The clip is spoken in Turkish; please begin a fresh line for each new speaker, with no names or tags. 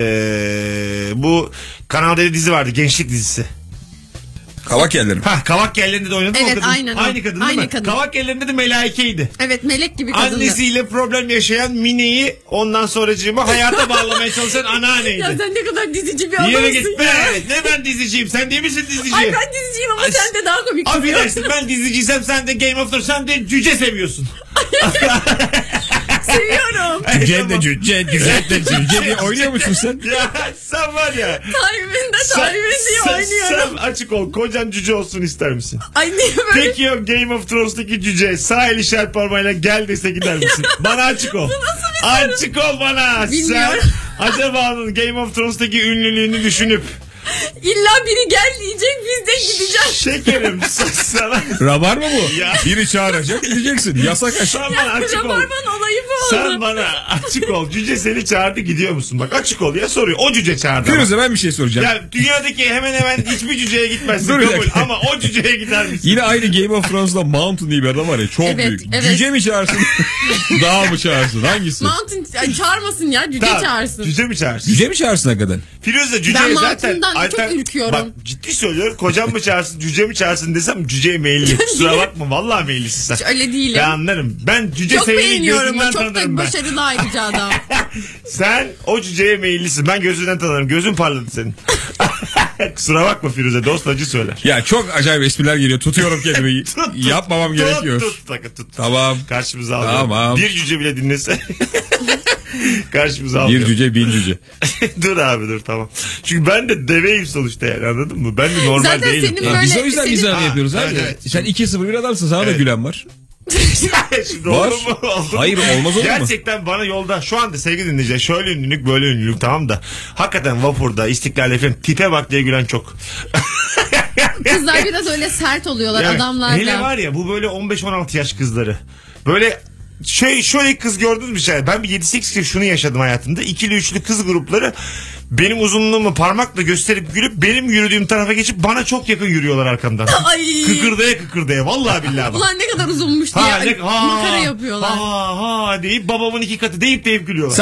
Ee, bu Kanal D'de dizi vardı. Gençlik dizisi.
Kavak yerleri mi?
Ha Kavak Yelleri'nde de oynadı mı
Evet,
o kadın?
aynen o.
Aynı kadın değil
Aynı
mi?
kadın.
Kavak Yelleri'nde de melaikeydi.
Evet melek gibi kadındı.
Annesiyle problem yaşayan Mine'yi ondan sonracığıma hayata bağlamaya çalışan
Ya
anneanneydi.
sen ne kadar dizici bir
Yere
adamsın
git
ya.
be. Ne ben diziciyim? Sen değil misin dizici?
Ay ben diziciyim ama
Ay,
sen de daha komik.
Affedersin ben diziciysem sen de Game of Thrones sen de cüce seviyorsun.
Seviyorum.
Cüce de cüce, cüce de cüce diye oynuyor musun sen?
ya sen var ya.
Tarifinde tarifinde
sen-
oynuyorum.
sen açık ol. Kocan cüce olsun ister misin?
Ay niye böyle
Peki o Game of Thrones'taki cüce sağ el işaret parmağıyla gel dese gider misin? bana açık ol. Açık ol bana.
Bilmiyorum.
Sen acaba onun Game of Thrones'taki ünlülüğünü düşünüp
illa biri gel diyecek biz de gideceğiz.
şekerim s- sana
Rabar mı bu?
Ya.
Biri çağıracak gideceksin. Yasak aşağı.
sen bana açık ol.
Rabarban olayı bu oldu.
Sen bana açık ol. Cüce seni çağırdı gidiyor musun? Bak açık ol ya soruyor. O cüce çağırdı. ama.
Firuze ben bir şey soracağım.
Ya dünyadaki hemen hemen hiçbir cüceye gitmezsin
Dur bir
kabul.
dakika.
Ama o cüceye gider misin?
Yine aynı Game of Thrones'da Mountain diye bir adam var ya çok
Evet,
büyük.
evet.
Cüce mi çağırsın? Dağ mı çağırsın? Hangisi?
Mountain ay, çağırmasın ya cüce
Tamam,
çağırsın.
Cüce mi çağırsın?
Cüce mi çağırsın hakikaten?
Firuze cüceye
Ben
zaten...
mantığından çok
altern-
ürküyorum.
Bak ciddi söylüyorum. Kocam mı çağırsın, cüce mi çağırsın desem cüceye meyilli. Kusura bakma vallahi meyillisin sen.
Hiç öyle değilim.
Ben anlarım. Ben cüce
çok
seveni
beğeniyorum
gözünden
o çok
tanırım
da
ben.
başarılı ayrıca adam.
Sen o cüceye meyillisin. Ben gözünden tanırım. Gözün parladı senin. Kusura bakma Firuze. Dost acı söyler.
Ya çok acayip espriler geliyor. Tutuyorum kendimi. Yapmamam
tut,
gerekiyor.
Tut tut tut.
Tamam.
Karşımıza alıyorum.
Tamam.
Bir cüce bile dinlese. Karşımıza
Bir
alıyorum.
cüce bin cüce.
dur abi dur tamam. Çünkü ben de deveyim sonuçta yani anladın mı? Ben de normal
Zaten
değilim.
senin böyle
biz o yüzden
senin-
mizah yapıyoruz
Ha,
abi.
evet, evet.
Sen 2-0 bir adamsın sana da
Evet.
gülen var.
Şimdi
Var.
olur mu? Olur mu?
Hayır, olmaz olur mu?
Gerçekten bana yolda şu anda sevgili dinleyiciler şöyle ünlülük böyle ünlülük tamam da hakikaten vapurda istiklal efendim tipe bak diye gülen çok.
Kızlar biraz öyle sert oluyorlar
Yani Hele
adamlarla.
var ya bu böyle 15-16 yaş kızları. Böyle şey şöyle kız gördünüz mü şey? Ben bir 7-8 kez şunu yaşadım hayatımda. İkili üçlü kız grupları benim uzunluğumu parmakla gösterip gülüp benim yürüdüğüm tarafa geçip bana çok yakın yürüyorlar arkamdan.
Ay.
Kıkırdaya kıkırdaya vallahi billahi bak.
Ulan ne kadar uzunmuş diye ay, makara yapıyorlar.
Ha ha deyip babamın iki katı deyip deyip gülüyorlar.